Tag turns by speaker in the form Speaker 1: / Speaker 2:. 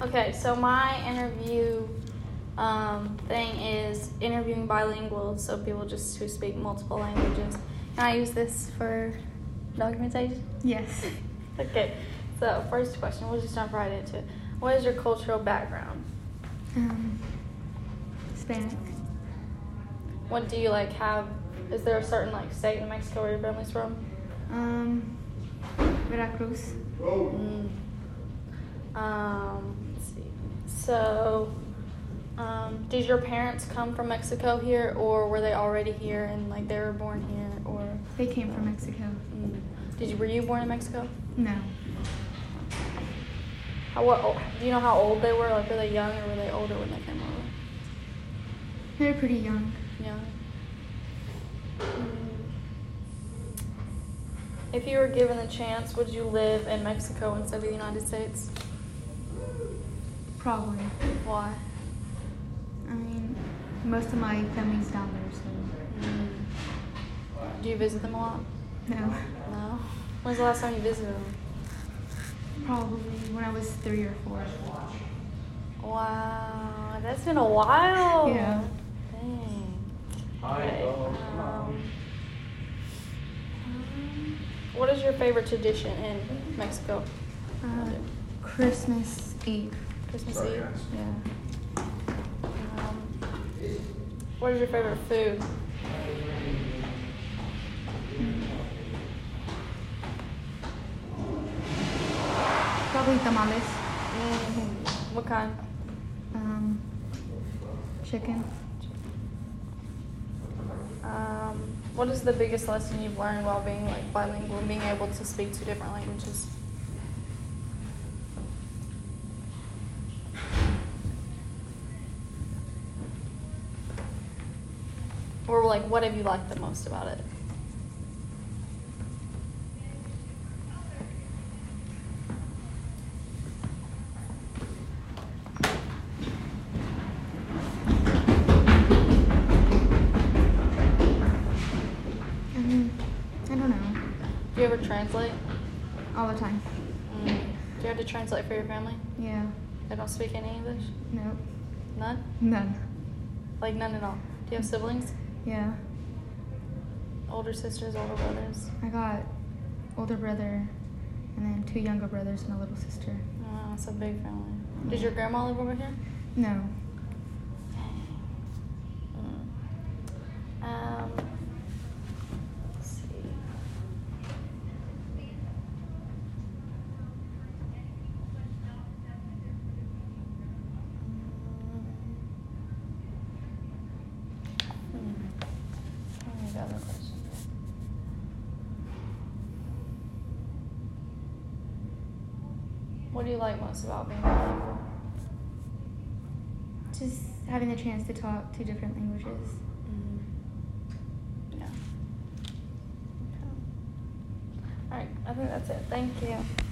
Speaker 1: Okay, so my interview um, thing is interviewing bilinguals, so people just who speak multiple languages. Can I use this for documentation?
Speaker 2: Yes.
Speaker 1: Okay, so first question, we'll just jump right into it. What is your cultural background?
Speaker 2: Um, Hispanic.
Speaker 1: What do you like have? Is there a certain like state in Mexico where your family's from?
Speaker 2: Um, Veracruz.
Speaker 1: Mm. Um, let's see. So, um, did your parents come from Mexico here, or were they already here and like they were born here, or
Speaker 2: They came from Mexico.
Speaker 1: mm, did you were you born in Mexico?
Speaker 2: No.
Speaker 1: How what o- do you know how old they were? Like were they young or were they older when they came over?
Speaker 2: They're pretty young.
Speaker 1: Young. Mm. If you were given the chance, would you live in Mexico instead of the United States?
Speaker 2: Probably.
Speaker 1: Why?
Speaker 2: I mean, most of my family's down there, so
Speaker 1: Mm. Do you visit them a lot?
Speaker 2: no.
Speaker 1: No. When's the last time you visited them?
Speaker 2: Probably when I was three or four.
Speaker 1: Wow, that's been a while.
Speaker 2: Yeah.
Speaker 1: Dang.
Speaker 3: Hi,
Speaker 1: Okay,
Speaker 3: dogs.
Speaker 1: um, um, what is your favorite tradition in Mexico?
Speaker 2: Uh, Christmas Eve.
Speaker 1: Christmas
Speaker 3: Sorry,
Speaker 1: Eve.
Speaker 3: guys.
Speaker 2: Yeah.
Speaker 1: Um, what is your favorite food?
Speaker 2: Probably tamales.
Speaker 1: Mm-hmm. What kind?
Speaker 2: Um, chicken.
Speaker 1: Um, what is the biggest lesson you've learned while being like bilingual, and being able to speak two different languages? Or like, what have you liked the most about it?
Speaker 2: I mean, I don't know.
Speaker 1: Do you ever translate?
Speaker 2: All the time.
Speaker 1: Mm. Do you have to translate for your family?
Speaker 2: Yeah.
Speaker 1: They don't speak any English?
Speaker 2: Nope.
Speaker 1: None?
Speaker 2: None.
Speaker 1: Like none at all. Do you have siblings?
Speaker 2: Yeah.
Speaker 1: Older sisters, older brothers?
Speaker 2: I got older brother and then two younger brothers and a little sister.
Speaker 1: Wow, it's Ah, a big family. Does your grandma live over here?
Speaker 2: No.
Speaker 1: Mm. Um, let's see. Mm. Hmm. Mm. What was the other question? What do you like most about being bilingual?
Speaker 2: Just having the chance to talk two different languages.
Speaker 1: Mm. Mm-hmm. Yeah. Okay. All right, I think that's it. Thank you.